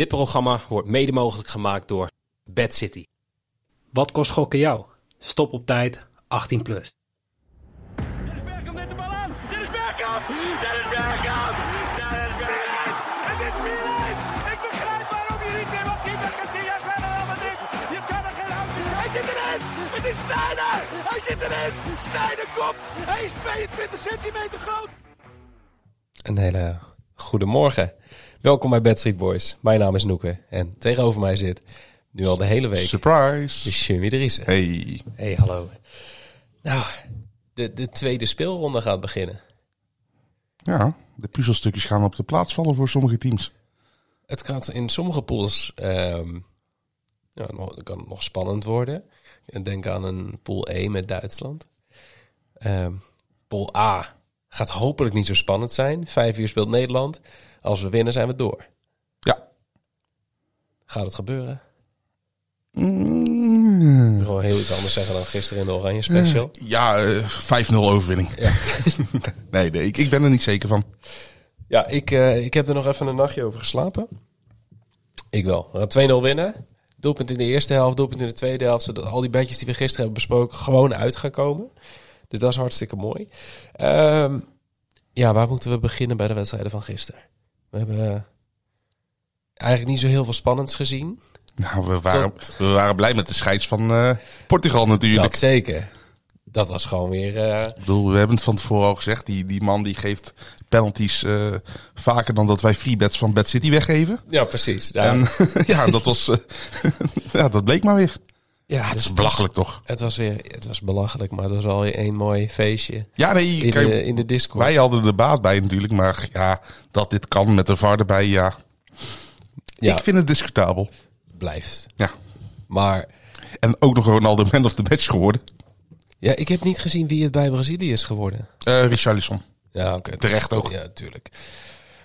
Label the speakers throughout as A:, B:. A: Dit programma wordt mede mogelijk gemaakt door Bad City.
B: Wat kost gokken jou? Stop op tijd, 18 plus.
C: Dennis Bergkamp neemt de bal aan. Dennis Bergkamp! Dennis Bergkamp! Dennis Bergkamp! Het is 4-1! Ik begrijp waarom je niet meer wat keeper Casillas verder allemaal dit. Je kan er geen hand Hij zit erin! Het is Sneijder! Hij zit erin! Sneijder komt! Hij is 22 centimeter groot!
D: Een hele goede morgen. Welkom bij Bad Street Boys. Mijn naam is Noeke en tegenover mij zit nu al de hele week
E: Surprise!
D: Jimmy Driessen.
E: Hey,
D: Hey, hallo. Nou, de, de tweede speelronde gaat beginnen.
E: ja, de puzzelstukjes gaan op de plaats vallen voor sommige teams.
D: Het gaat in sommige pools ehm ja, nog, kan nog spannend worden. Ik Denk aan een pool E met Duitsland. Ehm, pool A gaat hopelijk niet zo spannend zijn. Vijf uur speelt Nederland. Als we winnen zijn we door.
E: Ja.
D: Gaat het gebeuren? Ik wil gewoon heel iets anders zeggen dan gisteren in de Oranje Special.
E: Eh. Ja, eh, 5-0 overwinning. nee, nee ik, ik ben er niet zeker van.
D: Ja, ik, eh, ik heb er nog even een nachtje over geslapen. Ik wel. We gaan 2-0 winnen. Doelpunt in de eerste helft, doelpunt in de tweede helft. Zodat al die bedjes die we gisteren hebben besproken gewoon uit gaan komen. Dus dat is hartstikke mooi. Ehm, ja, waar moeten we beginnen bij de wedstrijden van gisteren? We hebben eh, eigenlijk niet zo heel veel spannends gezien.
E: Nou, we waren, we waren blij met de scheids van eh, Portugal natuurlijk.
D: Dat zeker. Dat was gewoon weer... eh,
E: Ik bedoel, we hebben het van tevoren al gezegd. Die, die man die geeft penalties eh, vaker dan dat wij freebets van Bad City weggeven.
D: ja, precies. Ja,
E: En ja, dat was... eh, ja, dat bleek maar weer. Ah,
D: ja,
E: Het
D: dus
E: is belachelijk toch?
D: Het was weer... Het was belachelijk, maar het was wel weer één mooi feestje.
E: Ja, nee,
D: In
E: kijk,
D: de, in de Discord.
E: wij hadden er baat bij natuurlijk. Maar ja, dat dit kan met de VAR erbij, ja.
D: Ja.
E: Ik vind het discutabel.
D: blijft.
E: Ja.
D: Maar
E: En ook nog Ronaldo man of the match geworden.
D: ja, ik heb niet gezien wie het bij Brazilië is geworden.
E: Eh Richarlison.
D: Ja, oké.
E: Terecht ook.
D: Ja, tuurlijk.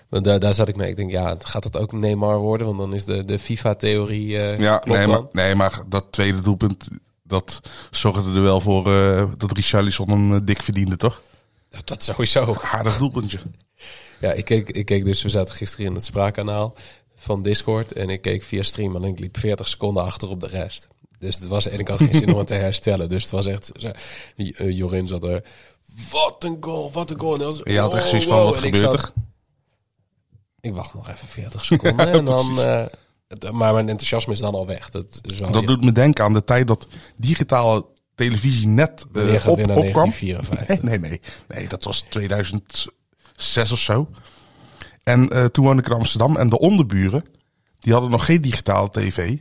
D: Want daar, daar zat ik mee. Ik denk, ja, gaat het ook Neymar worden? Want dan is de, de FIFA-theorie. eh
E: Ja,
D: klopt
E: nee maar,
D: dan.
E: nee, maar dat tweede doelpunt, dat zorgde er wel voor eh, dat Richarlison hem eh, dik verdiende, toch?
D: Dat, dat sowieso.
E: Aardig doelpuntje.
D: Ja, ik keek, ik keek dus, we zaten gisteren in het spraakkanaal van Discord. En ik keek via stream en ik liep 40 seconden achter op de rest. Dus het was, en ik had geen zin om het te herstellen. Dus het was echt, zo- J- eh, Jorin zat er, wat een goal, wat een goal. En dat was-
E: En je had echt
D: oh,
E: zoiets van,
D: wow.
E: wat
D: En ik
E: gebeurt
D: zat-
E: er?
D: ik wacht nog even 40 seconden en dan... eh, het- maar mijn enthousiasme is dan al weg. Dat, is wel
E: Dat doet me denken aan de tijd dat digitale televisie net eh,
D: Wanneer gaan we
E: op,
D: weer naar
E: opkwam.
D: 1954?
E: Nee, nee, nee, nee. Dat was 2006 of zo. En eh, toen woonde ik in Amsterdam. En de onderburen, die hadden nog geen digitale tv.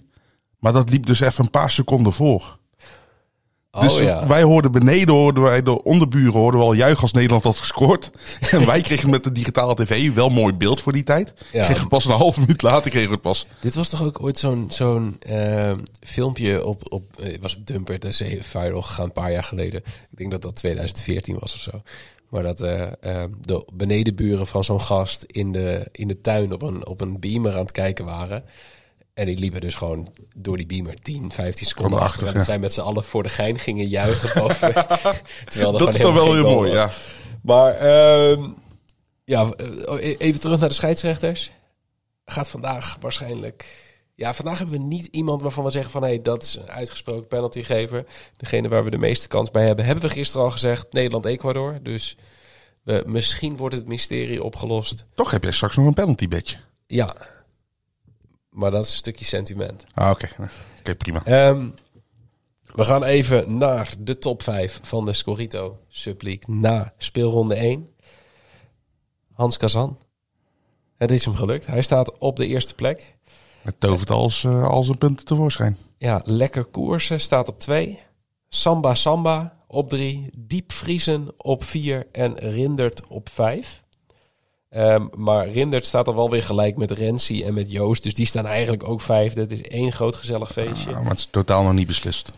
E: Maar dat liep dus even een paar seconden voor.
D: Oh
E: Dus
D: ja.
E: wij hoorden beneden, hoorden wij de onderburen hoorden wel juichen als Nederland had gescoord. En wij kregen met de digitale tv wel mooi beeld voor die tijd.
D: Ja.
E: Kregen we pas een halve minuut later kregen we het pas.
D: Dit was toch ook ooit zo'n zo'n eh, filmpje op, op eh, het was op Dumpert en ze viral gegaan een paar jaar geleden. Ik denk dat dat 2014 was of zo. Maar dat eh, eh, de benedenburen van zo'n gast in de, in de tuin op een, op een beamer aan het kijken waren. En die liepen dus gewoon door die beamer 10, 15 seconden
E: Achter,
D: achter. En dat
E: ja.
D: zij met z'n allen voor de gein gingen juichen. Boven, terwijl er
E: Dat is
D: gewoon
E: dan
D: helemaal geen
E: wel weer
D: goal
E: mooi,
D: was.
E: ja.
D: Maar ehm, ja, eh, e- even terug naar de scheidsrechters. Gaat vandaag waarschijnlijk. Ja, vandaag hebben we niet iemand waarvan we zeggen van hé, dat is een uitgesproken penaltygever. Degene waar we de meeste kans bij hebben, hebben we gisteren al gezegd. Nederland-Ecuador. Dus eh, misschien wordt het mysterie opgelost.
E: Toch heb jij straks nog een penalty bedje.
D: Ja. Maar dat is een stukje sentiment.
E: Ah, oké. Oké, prima.
D: Ehm, we gaan even naar de top 5 van de Scorito Sub League na speelronde 1. Hans Kazan. Het is hem gelukt. Hij staat op de eerste plek.
E: Het tovert als, eh, als een punt tevoorschijn.
D: Ja, lekker koersen staat op 2. Samba Samba op 3. Diep Vriezen op 4. En Rindert op 5. maar Rindert staat al wel weer gelijk met Rensi en met Joost. Dus die staan eigenlijk ook vijfde. Het is één groot gezellig feestje.
E: Ja, Ah, maar het is totaal nog niet beslist.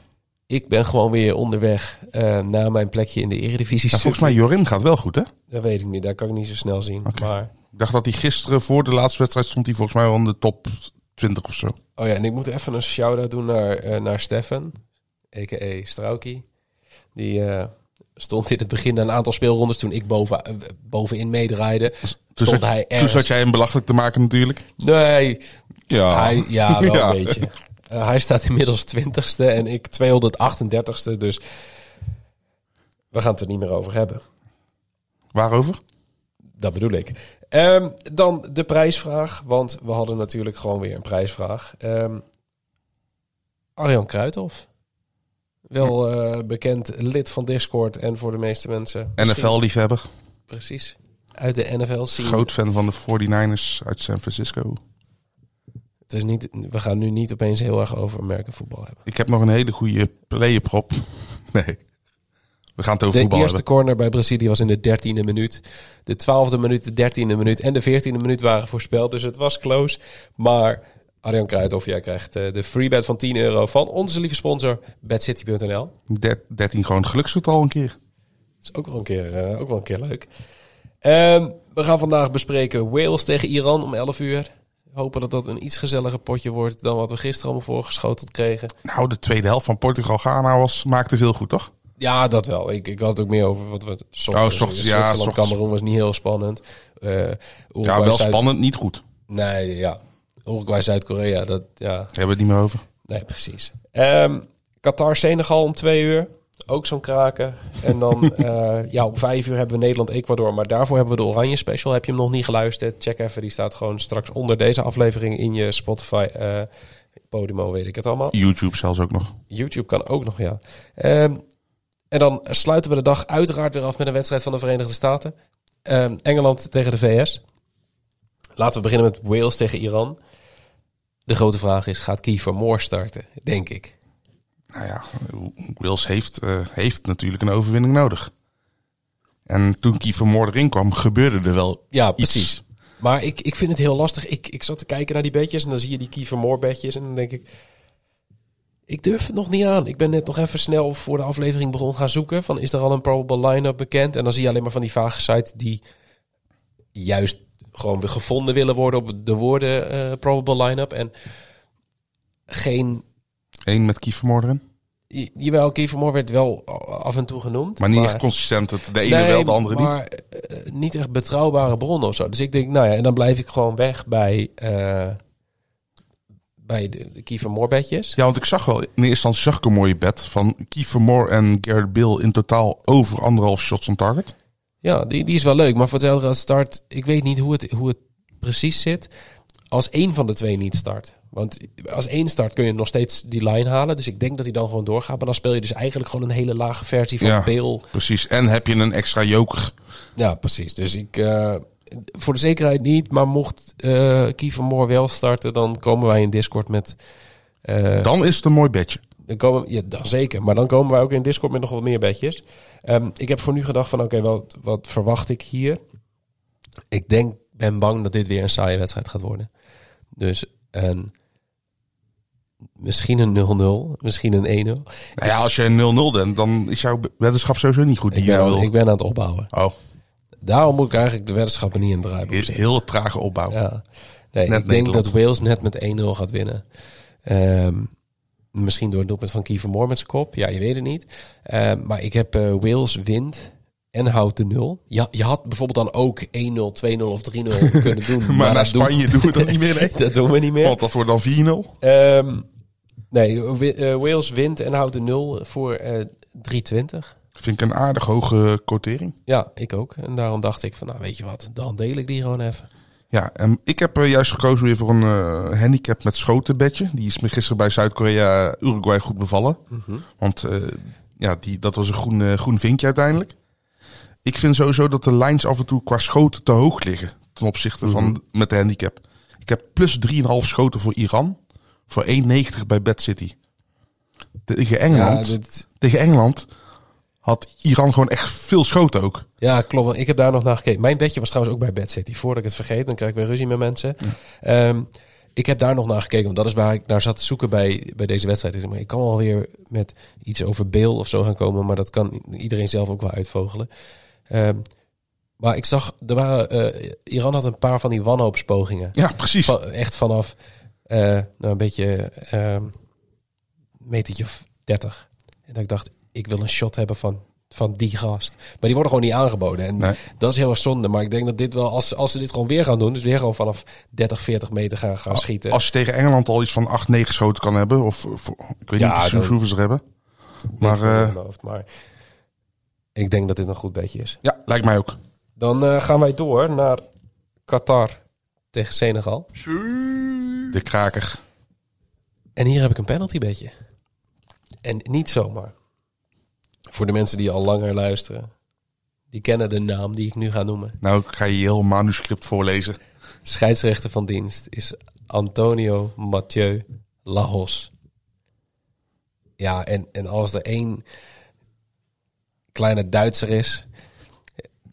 D: ik ben gewoon weer onderweg eh, naar mijn plekje in de Eredivisie.
E: Ja, volgens mij Jorin gaat wel goed, hè?
D: Dat weet ik niet, dat kan ik niet zo snel zien.
E: Oké.
D: Maar,
E: Ik dacht dat hij gisteren voor de laatste wedstrijd stond hij volgens mij wel in de top 20 of zo.
D: oh ja, en ik moet even een shout-out doen naar, eh naar Stefan, a.k.a. Strauki. Die eh, stond in het begin na een aantal speelrondes, toen ik boven, eh, bovenin meedraaide,
E: Toen
D: stond
E: zat-
D: hij
E: Toen
D: ergens.
E: zat jij hem belachelijk te maken natuurlijk.
D: Nee,
E: Ja.
D: Hij, ja, wel
E: Ah. Ja.
D: een beetje. Eh, hij staat inmiddels 20ste en ik 238ste, dus we gaan het er niet meer over hebben.
E: Waarover?
D: Dat bedoel ik. Ehm, dan de prijsvraag, want we hadden natuurlijk gewoon weer een prijsvraag. Ehm, Arjan Kruithof. Wel eh, bekend lid van Discord en voor de meeste mensen. misschien-
E: NFL-liefhebber.
D: Precies. Uit de NFL zien.
E: Groot fan van de 49ers uit San Francisco.
D: Het is niet, we gaan nu niet opeens heel erg over merkenvoetbal hebben.
E: Ik heb nog een hele goede playerprop. Nee. We gaan het over
D: De eerste
E: voetbal hebben.
D: corner bij Brazilië was in de dertiende minuut. De twaalfde minuut, de dertiende minuut en de veertiende minuut waren voorspeld. Dus het was close. Maar Arjan Kruidhoff, jij krijgt eh, de free bet van 10 euro van onze lieve sponsor BadCity.nl.
E: Der- 13 gewoon geluksgetal een keer.
D: is ook wel een keer, eh, ook wel een keer leuk. Ehm, we gaan vandaag bespreken Wales tegen Iran om 11 uur. Hopen dat dat een iets gezelliger potje wordt dan wat we gisteren allemaal voorgeschoteld kregen.
E: Nou, de tweede helft van Portugal-Ghana was, maakte veel goed, toch?
D: Ja, dat wel. Ik, ik had het ook meer over wat we...
E: Oh,
D: Soms,
E: ochtends, ja,
D: Zwitserland,
E: ochtends.
D: Cameroen was niet heel spannend. Eh, Uruguay,
E: Ja, wel
D: Zuid-
E: spannend, niet goed. Daar
D: Nee, ja. Uruguay, Zuid-Korea, dat... Ja,
E: hebben we het niet meer over.
D: nee, precies. Ehm, Qatar, Senegal om twee uur. Ook zo'n kraken. En dan, eh, ja, om vijf uur hebben we Nederland, Ecuador. Maar daarvoor hebben we de Oranje Special. Heb je hem nog niet geluisterd? Check even. Die staat gewoon straks onder deze aflevering in je Spotify. eh Podimo, weet ik het allemaal.
E: YouTube zelfs ook nog.
D: YouTube kan ook nog, ja. Ehm, en dan sluiten we de dag uiteraard weer af met een wedstrijd van de Verenigde Staten. Ehm, Engeland tegen de VS. Laten we beginnen met Wales tegen Iran. De grote vraag is, gaat Kiefer Moore starten? Denk ik.
E: Nou ja, Wils heeft, eh, heeft natuurlijk een overwinning nodig. En toen Kiefer Moore erin kwam, gebeurde er wel
D: Ja,
E: iets.
D: precies. Maar ik, ik vind het heel lastig. Ik, ik zat te kijken naar die bedjes en dan zie je die Kiefer Moore bedjes. En dan denk ik, ik durf het nog niet aan. Ik ben net nog even snel voor de aflevering begon gaan zoeken. Van is er al een probable line-up bekend? En dan zie je alleen maar van die vage sites die juist gewoon weer gevonden willen worden op de woorden eh, probable line-up. En geen,
E: Eén met Kiefer Moore erin.
D: j- jawel, Kiefer Moore werd wel af en toe genoemd.
E: Maar niet echt consistent. dat De ene wel, de andere niet.
D: maar eh, niet echt betrouwbare bronnen of zo. Dus ik denk, nou ja, en dan blijf ik gewoon weg bij, eh, bij de, de Kiefer Moorbedjes.
E: Ja, want ik zag wel, in eerste instantie zag ik een mooie bet van Kiefer Moore en Garrett Bill in totaal over anderhalf shots on target.
D: Ja, die, die is wel leuk. Maar voor hetzelfde als start, ik weet niet hoe het, hoe het precies zit. Als één van de twee niet start. Want als één start kun je nog steeds die line halen. Dus ik denk dat hij dan gewoon doorgaat. Maar dan speel je dus eigenlijk gewoon een hele lage versie van
E: Ja.
D: Bill.
E: Precies. En heb je een extra joker.
D: Ja, precies. Dus ik, eh, voor de zekerheid niet, maar mocht eh Kiefer Moore wel starten, dan komen wij in Discord met. eh,
E: Dan is het een mooi bedje.
D: dan komen, ja, dan zeker. Maar dan komen wij ook in Discord met nog wat meer bedjes. Ehm, ik heb voor nu gedacht van, oké, wat, wat verwacht ik hier? Ik denk, ben bang dat dit weer een saaie wedstrijd gaat worden. Dus een, misschien een 0-0, misschien een 1-0.
E: Nou ja, als je een 0-0 bent, dan is jouw weddenschap sowieso niet goed. Die
D: Ik
E: je
D: ben,
E: wil.
D: ik ben aan het opbouwen.
E: Oh,
D: Daarom moet ik eigenlijk de weddenschappen niet in draaien.
E: heel, heel trage opbouw.
D: Ja. Nee,
E: Net
D: ik denk
E: Nederland.
D: dat Wales net met 1-0 gaat winnen. Ehm, misschien door het doelpunt van Kiefer Moore met zijn kop. Ja, je weet het niet. Ehm, maar ik heb eh, Wales wint en houdt de nul. Ja, je had bijvoorbeeld dan ook 1-0, 2-0 of 3-0 kunnen doen.
E: Maar, naar
D: dat
E: Spanje
D: doen,
E: doen we dat niet meer. nee.
D: dat doen we niet meer.
E: Want dat wordt dan 4-0.
D: Ehm, nee, Wi- eh, Wales wint en houdt de nul voor eh 3-20.
E: Vind ik een aardig hoge quotering.
D: Ja, ik ook. En daarom dacht ik van, nou weet je wat, dan deel ik die gewoon even.
E: Ja, en ik heb eh, juist gekozen weer voor een eh, handicap met schotenbedje. Die is me gisteren bij Zuid-Korea eh, Uruguay goed bevallen.
D: Mhm.
E: Want eh, ja, die, dat was een groen, eh, groen vinkje uiteindelijk. Ik vind sowieso dat de lijns af en toe qua schoten te hoog liggen ten opzichte
D: Mhm.
E: van met de handicap. Ik heb plus 3,5 schoten voor Iran, voor 1,90 bij Bad City. Tegen Engeland,
D: Ja, dit,
E: tegen Engeland had Iran gewoon echt veel schoten ook.
D: Ja, klopt. want Ik heb daar nog naar gekeken. Mijn bedje was trouwens ook bij Bad City. Voordat ik het vergeet, dan krijg ik weer ruzie met mensen. Ehm, ik heb daar nog naar gekeken, want dat is waar ik naar zat te zoeken bij, bij deze wedstrijd. Ik zeg maar, Ik kan alweer met iets over Bill of zo gaan komen, maar dat kan iedereen zelf ook wel uitvogelen. Ehm, maar ik zag, er waren, eh, Iran had een paar van die wanhoopspogingen.
E: Ja, precies.
D: Van- echt vanaf eh, nou een beetje ehm metertje of 30. En dat ik dacht, ik wil een shot hebben van Van die gast. Maar die worden gewoon niet aangeboden. En
E: Nee.
D: dat is heel erg zonde. Maar ik denk dat dit wel, als, als ze dit gewoon weer gaan doen, dus weer gewoon vanaf 30, 40 meter gaan, gaan schieten.
E: Oh, Als je tegen Engeland al iets van 8, 9 schoten kan hebben. Of, of- ik weet
D: Ja,
E: niet
D: dat-
E: precies hoeveel ze er hebben.
D: Niet
E: Maar
D: goed uit
E: eh,
D: mijn hoofd, maar ik denk dat dit een goed beetje is.
E: ja, lijkt mij ook.
D: Dan eh, gaan wij door naar Qatar tegen Senegal.
E: De kraker.
D: En hier heb ik een penalty bedje. En niet zomaar. Voor de mensen die al langer luisteren. Die kennen de naam die ik nu ga noemen.
E: Nou, ik ga je heel manuscript voorlezen.
D: Scheidsrechter van dienst is Antonio Mathieu Lahos. Ja, en, en als er één kleine Duitser is...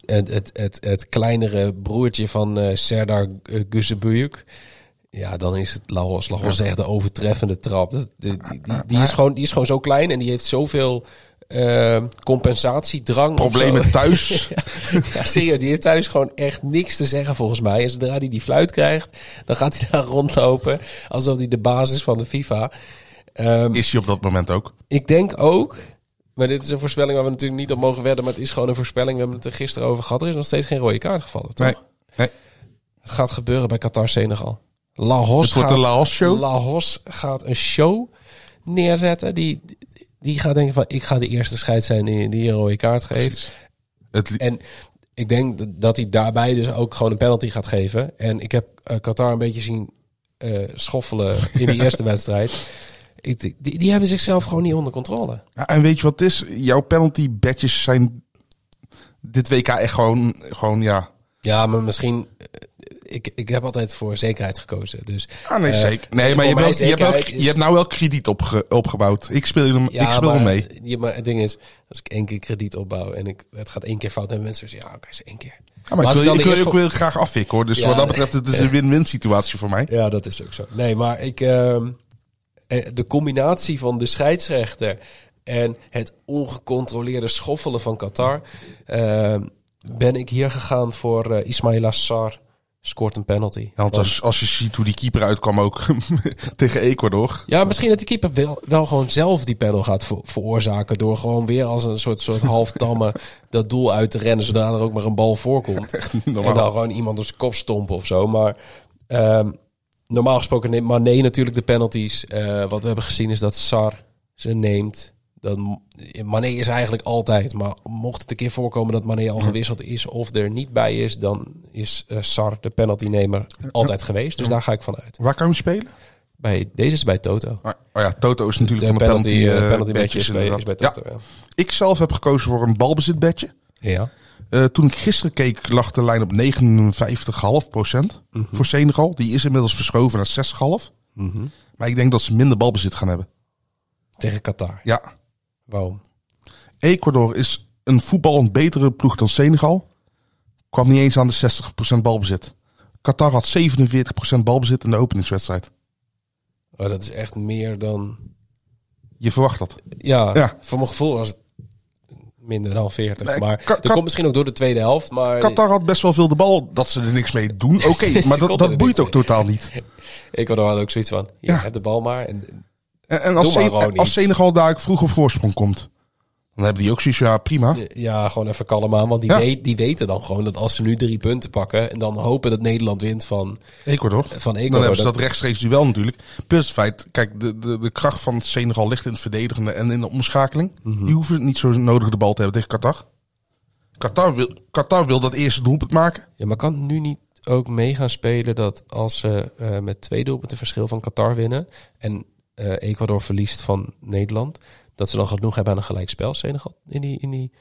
D: Het, het, het, het kleinere broertje van eh, Serdar eh, Gözebujuk... Ja, dan is het Lahos. Lahos is echt de overtreffende trap. Dat, die, die, die, die is gewoon, die is gewoon zo klein en die heeft zoveel eh, compensatiedrang. of zo.
E: Problemen thuis.
D: Ja, serieus, die heeft thuis gewoon echt niks te zeggen volgens mij. En zodra hij die fluit krijgt, dan gaat hij daar rondlopen alsof hij de baas is van de FIFA. Ehm,
E: Is hij op dat moment ook.
D: ik denk ook, maar dit is een voorspelling waar we natuurlijk niet op mogen wedden, maar het is gewoon een voorspelling. We hebben het er gisteren over gehad. Er is nog steeds geen rode kaart gevallen, toch?
E: Nee. nee.
D: Het gaat gebeuren bij Qatar-Senegal. Lahos
E: Het wordt
D: gaat-
E: een Laos-show.
D: Lahos gaat een show neerzetten. Die, die gaat denken van, ik ga de eerste scheid zijn die, die een rode kaart geeft.
E: Het li-
D: En ik denk dat- dat hij daarbij dus ook gewoon een penalty gaat geven. En ik heb eh, Qatar een beetje zien eh, schoffelen in die eerste wedstrijd. Ik, die, die hebben zichzelf gewoon niet onder controle.
E: Ja, en weet je wat het is? Jouw penalty badges zijn dit WK echt gewoon, gewoon ja.
D: Ja, maar misschien... eh, Ik, ik heb altijd voor zekerheid gekozen. Dus
E: Ah, nee,
D: Eh,
E: zeker. Nee, maar je hebt,
D: mij
E: wel- je, hebt wel-
D: zekerheid is-
E: je hebt nou wel krediet opge- opgebouwd. Ik speel, hem, ik speel
D: maar,
E: mee.
D: Ja, maar het ding is, als ik één keer krediet opbouw en ik, het gaat één keer fout, en mensen zeggen, ja, oké, is één keer.
E: Ja, Ah,
D: als
E: maar ik
D: ik
E: wil,
D: dan
E: ik
D: de
E: wil je
D: eerste
E: ook
D: vo-
E: wel graag afwikken hoor. Dus
D: Ja,
E: wat dat
D: nee.
E: betreft, het is een win-win situatie voor mij.
D: Ja, dat is ook zo. Nee, maar ik, ehm, eh, de combinatie van de scheidsrechter en het ongecontroleerde schoffelen van Qatar, ehm, ben ik hier gegaan voor eh Ismail Sar scoort een penalty.
E: Ja, want als, als je ziet hoe die keeper uitkwam ook tegen Ecuador.
D: Ja, misschien dat de keeper wel, wel gewoon zelf die panel gaat ver- veroorzaken. Door gewoon weer als een soort, soort halftamme dat doel uit te rennen. Zodat er ook maar een bal voorkomt.
E: normaal.
D: En dan gewoon iemand op zijn kop stompen of zo. Maar ehm, normaal gesproken neemt Mané natuurlijk de penalties. Eh, wat we hebben gezien is dat Sar ze neemt. Dat, Mané is eigenlijk altijd. Maar mocht het een keer voorkomen dat Mané al gewisseld is of er niet bij is. Dan is eh, Sar de penaltynemer altijd geweest. Dus daar ga ik van uit.
E: Waar kan je spelen?
D: Bij, deze is bij Toto.
E: Ah, Oh ja, Toto is natuurlijk
D: De
E: van de penalty,
D: penalty,
E: eh,
D: eh, penalty
E: badges
D: match is bij-
E: inderdaad.
D: is bij
E: Ja.
D: Toto, ja.
E: Ik zelf heb gekozen voor een balbezit badge.
D: Ja.
E: Eh, toen ik gisteren keek, lag de lijn op 59,5 voor Senegal. Die is inmiddels verschoven naar 6,5. Maar ik denk dat ze minder balbezit gaan hebben.
D: Tegen Qatar.
E: Ja,
D: Waarom?
E: Ecuador is een voetballend betere ploeg dan Senegal. Kwam niet eens aan de 60% balbezit. Qatar had 47% balbezit in de openingswedstrijd.
D: Oh, dat is echt meer dan...
E: Je verwacht dat.
D: Ja,
E: Ja.
D: voor mijn gevoel was het minder dan 40.
E: Nee,
D: maar
E: Ka-
D: dat
E: Ka-
D: komt misschien ook door de tweede helft. Maar
E: Qatar had best wel veel de bal dat ze er niks mee doen. Oké,
D: Ze
E: maar dat,
D: konden
E: dat
D: er
E: boeit
D: niks
E: ook totaal niet.
D: ik had er ook zoiets van, je
E: Ja.
D: hebt de bal maar. En,
E: En, en als,
D: Doe maar
E: Sen-
D: gewoon
E: als
D: iets.
E: Senegal daar ook vroeg op voorsprong komt, dan hebben die ook zoiets van, ja prima.
D: eh, ja, gewoon even kalm aan. Want die,
E: Ja.
D: weet, die weten dan gewoon dat als ze nu drie punten pakken... en dan hopen dat Nederland wint van...
E: Ecuador.
D: Eh, Van Ecuador,
E: Dan hebben ze
D: dat-
E: dat rechtstreeks duel natuurlijk. Plus het feit, kijk, de, de, de kracht van Senegal ligt in het verdedigende en in de omschakeling.
D: Mhm.
E: Die hoeven het niet zo nodig de bal te hebben tegen Qatar. Qatar wil, Qatar wil dat eerste doelpunt maken.
D: Ja, maar kan het nu niet ook mee gaan spelen dat als ze eh, met twee doelpunten verschil van Qatar winnen... en eh, Ecuador verliest van Nederland... dat ze dan genoeg hebben aan een gelijkspel, Senegal, in die, in die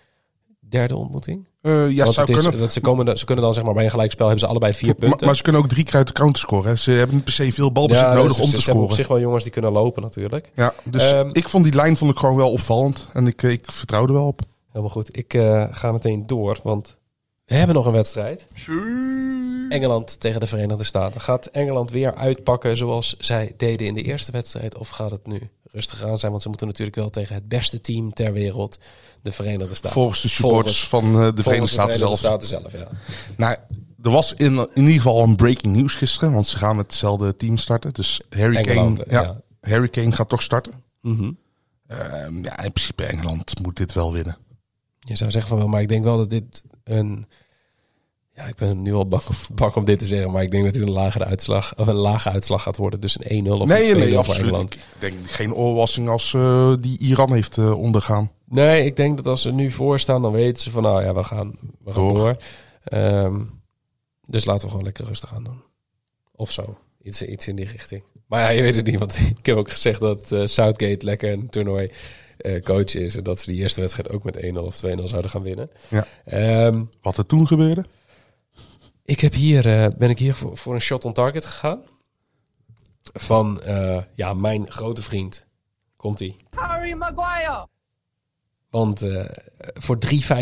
D: derde ontmoeting?
E: Eh, ja,
D: Want
E: zou
D: het is,
E: kunnen.
D: dat ze, komen, dan- ze kunnen dan zeg maar bij een gelijkspel hebben ze allebei vier
E: Maar,
D: punten.
E: maar ze kunnen ook drie keer uit de counter scoren. hè. Ze hebben niet per se veel balbezit
D: dus
E: nodig
D: ze-
E: om
D: ze
E: te
D: hebben op
E: scoren.
D: zich wel jongens die kunnen lopen natuurlijk.
E: Ja, dus
D: Ehm,
E: ik vond die lijn vond ik gewoon wel opvallend. En ik, ik vertrouwde wel op.
D: Helemaal goed. Ik eh, ga meteen door, want we hebben nog een wedstrijd. Engeland tegen de Verenigde Staten. Gaat Engeland weer uitpakken zoals zij deden in de eerste wedstrijd? Of gaat het nu rustig aan zijn? Want ze moeten natuurlijk wel tegen het beste team ter wereld, de Verenigde Staten.
E: Volgens de supporters
D: Volgens-
E: van eh, de Verenigde
D: volgens
E: Staten zelf.
D: zelf, ja.
E: Nou, er was in, in ieder geval een breaking news gisteren, want ze gaan met hetzelfde team starten. Dus Harry Kane,
D: Engeland,
E: ja,
D: ja. Mhm.
E: Harry Kane gaat toch starten. Ehm, ja, in principe Engeland moet dit wel winnen.
D: Je zou zeggen van wel, maar ik denk wel dat dit een... Ja, ik ben nu al bang, bang om dit te zeggen, maar ik denk dat dit een lagere uitslag, of een lage uitslag gaat worden. Dus een 1-0 of
E: nee,
D: een 2-0
E: nee,
D: voor
E: absoluut.
D: Engeland.
E: Ik ik denk geen oorwassing als eh, die Iran heeft eh, ondergaan.
D: Nee, ik denk dat als ze nu voor staan, dan weten ze van nou ja, we gaan, we gaan
E: Door.
D: door. Ehm, dus laten we gewoon lekker rustig aan doen. Of zo. Iets, iets in die richting. Maar ja, je weet het niet, want ik heb ook gezegd dat eh, Southgate lekker een toernooi eh, coach is. En dat ze die eerste wedstrijd ook met 1-0 of 2-0 zouden gaan winnen.
E: Ja.
D: Ehm,
E: Wat er toen gebeurde?
D: ik heb hier, eh, ben ik hier voor, voor een shot on target gegaan. Van eh, ja, mijn grote vriend. Komt-ie.
C: Harry Maguire.
D: Want eh, voor 3,55.
E: Zo.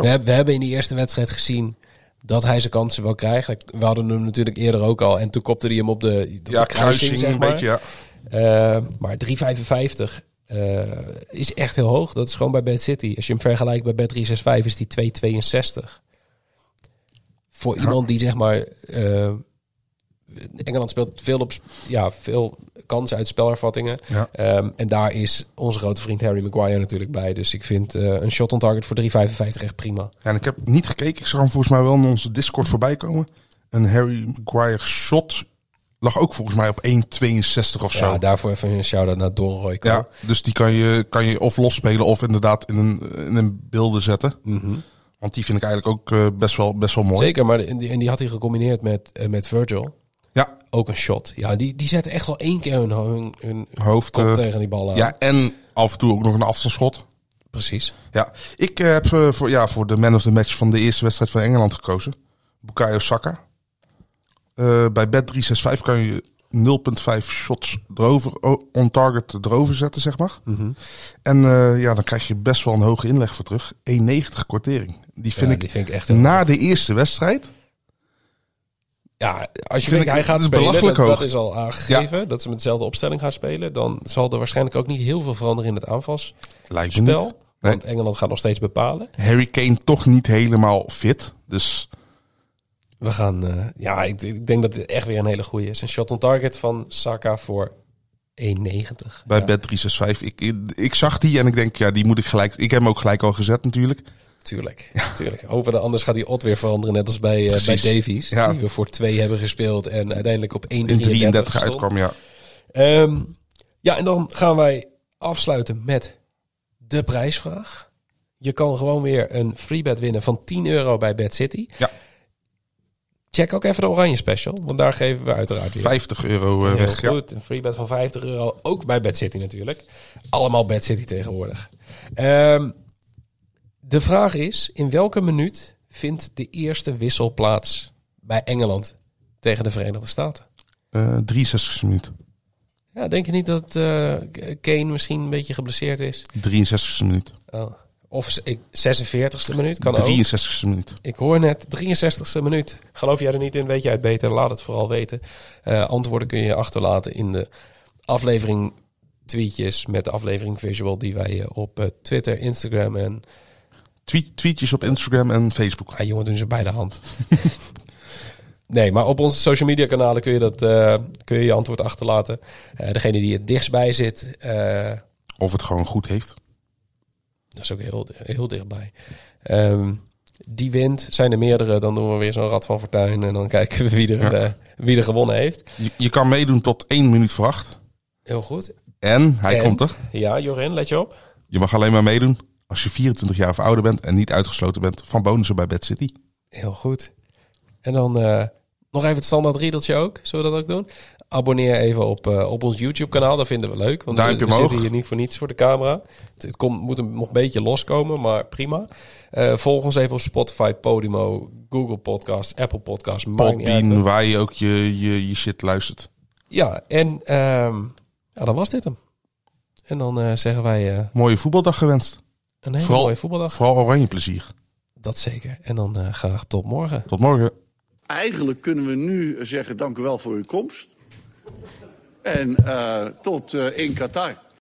D: We, heb- we hebben in die eerste wedstrijd gezien dat hij zijn kansen wel krijgt. We hadden hem natuurlijk eerder ook al. En toen kopte hij hem op de, op de
E: Ja,
D: kruising,
E: kruising
D: zeg
E: een
D: maar.
E: beetje, ja.
D: Eh, maar 3,55 eh, is echt heel hoog. Dat is gewoon bij Bad City. Als je hem vergelijkt bij Bad 365 is die 2,62. Voor iemand die zeg maar... eh, Engeland speelt veel, op, ja, veel kansen uit spelervattingen.
E: Ja.
D: Ehm, en daar is onze grote vriend Harry Maguire natuurlijk bij. Dus ik vind eh, een shot on target voor 3,55 echt prima.
E: En ik heb niet gekeken. Ik zag hem volgens mij wel in onze Discord voorbij komen. Een Harry Maguire shot lag ook volgens mij op 1,62 of zo.
D: Ja, daarvoor even een shout-out naar Don Royko.
E: Ja, dus die kan je, kan je of losspelen of inderdaad in een, in een beelden zetten. Want die vind ik eigenlijk ook eh, best, wel, best wel mooi.
D: Mhm. Zeker, maar en die, en die had hij gecombineerd met, eh, met Virgil.
E: Ja,
D: ook een shot. Ja, die, die zetten echt wel één keer hun, hun, hun
E: hoofd.
D: kop
E: eh,
D: tegen die ballen. aan.
E: ja, en af en toe ook nog een afstandsschot.
D: precies.
E: Ja, ik eh, heb eh, voor, ja, voor de man of the match van de eerste wedstrijd van Engeland gekozen. Bukayo Saka. Eh, bij Bet365 kan je 0,5 shots erover, o- on target erover zetten, zeg maar.
D: Mhm.
E: En eh, ja, dan krijg je best wel een hoge inleg voor terug. 1,90 kwartering. Die vind
D: ja,
E: ik Nou,
D: die vind ik echt... eh,
E: na de eerste wedstrijd
D: ja, als je
E: vind
D: denkt, hij
E: ik-
D: gaat
E: het is
D: spelen, dat,
E: belachelijk
D: dat
E: hoog.
D: is al aangegeven. Dat ze met dezelfde opstelling gaan spelen. Dan zal er waarschijnlijk ook niet heel veel veranderen in het aanvalsspel.
E: lijkt me niet. Nee.
D: Want Engeland gaat nog steeds bepalen.
E: Harry Kane toch niet helemaal fit. Dus
D: We gaan... eh, ja, ik, ik denk dat dit echt weer een hele goede is. Een shot on target van Saka voor 1,90.
E: bij
D: Ja.
E: Bet365, ik, ik, ik zag die en ik denk, ja, die moet ik gelijk... Ik heb hem ook gelijk al gezet natuurlijk.
D: Tuurlijk, tuurlijk. Hopen dat anders gaat die odd weer veranderen. Net als bij, eh bij
E: Precies.
D: Davies.
E: Ja.
D: Die we voor 2 hebben gespeeld. En uiteindelijk op 1,33
E: In 33
D: stond.
E: uitkwam, ja.
D: Ehm, ja, en dan gaan wij afsluiten met de prijsvraag. Je kan gewoon weer een freebet winnen van 10 euro bij Bad City.
E: Ja.
D: Check ook even de Oranje Special, want daar geven we uiteraard weer.
E: 50 euro eh,
D: Heel
E: weg, ja.
D: goed, een freebet van 50 euro, ook bij Bad City natuurlijk. Allemaal Bad City tegenwoordig. Ehm, de vraag is, in welke minuut vindt de eerste wissel plaats bij Engeland tegen de Verenigde Staten?
E: Eh, 63 minuut.
D: Ja, denk je niet dat eh, Kane misschien een beetje geblesseerd is?
E: 63 minuut.
D: Oh. Of z- ik- 46e minuut kan ook.
E: 63 minuut.
D: Ik hoor net 63e minuut. Geloof jij er niet in? Weet jij het beter? Laat het vooral weten. Eh, antwoorden kun je achterlaten in de aflevering tweetjes met de aflevering visual die wij eh, op eh, Twitter, Instagram en
E: Tweet, tweetjes op Instagram en Facebook.
D: Ah, jongen, doen ze bij de hand. nee, maar op onze social media kanalen kun je, dat, eh, kun je je antwoord achterlaten. Eh, degene die het dichtst bij zit, eh,
E: Of het gewoon goed heeft.
D: Dat is ook heel, heel dichtbij. Ehm, die wint. Zijn er meerdere, dan doen we weer zo'n Rad van Fortuin. En dan kijken we wie er,
E: Ja.
D: eh, wie er gewonnen heeft.
E: Je, je kan meedoen tot 1 minuut voor 8.
D: Heel goed.
E: En, hij
D: En?
E: komt er.
D: Ja, Jorin, let je op.
E: Je mag alleen maar meedoen als je 24 jaar of ouder bent en niet uitgesloten bent van bonussen bij Bad City.
D: Heel goed. En dan eh, nog even het standaard riedeltje ook. Zullen we dat ook doen? Abonneer even op, eh, op ons YouTube-kanaal. Dat vinden we leuk. Want we,
E: Duimpje
D: we
E: omhoog.
D: zitten hier niet voor niets voor de camera. Het, het komt, moet een- nog een beetje loskomen, maar prima. Eh, volg ons even op Spotify, Podimo, Google Podcast, Apple Podcast. maakt niet uit.
E: Podbean, waar je ook je, je, je shit luistert.
D: Ja, en ehm, ja, dan was dit hem. En dan eh, zeggen wij eh,
E: Mooie voetbaldag gewenst.
D: een hele
E: Vooral-
D: mooie voetbaldag.
E: Vooral oranje plezier.
D: Dat zeker. En dan eh, graag tot morgen.
E: Tot morgen.
F: Eigenlijk kunnen we nu zeggen: dank u wel voor uw komst. En eh, tot eh, in Qatar.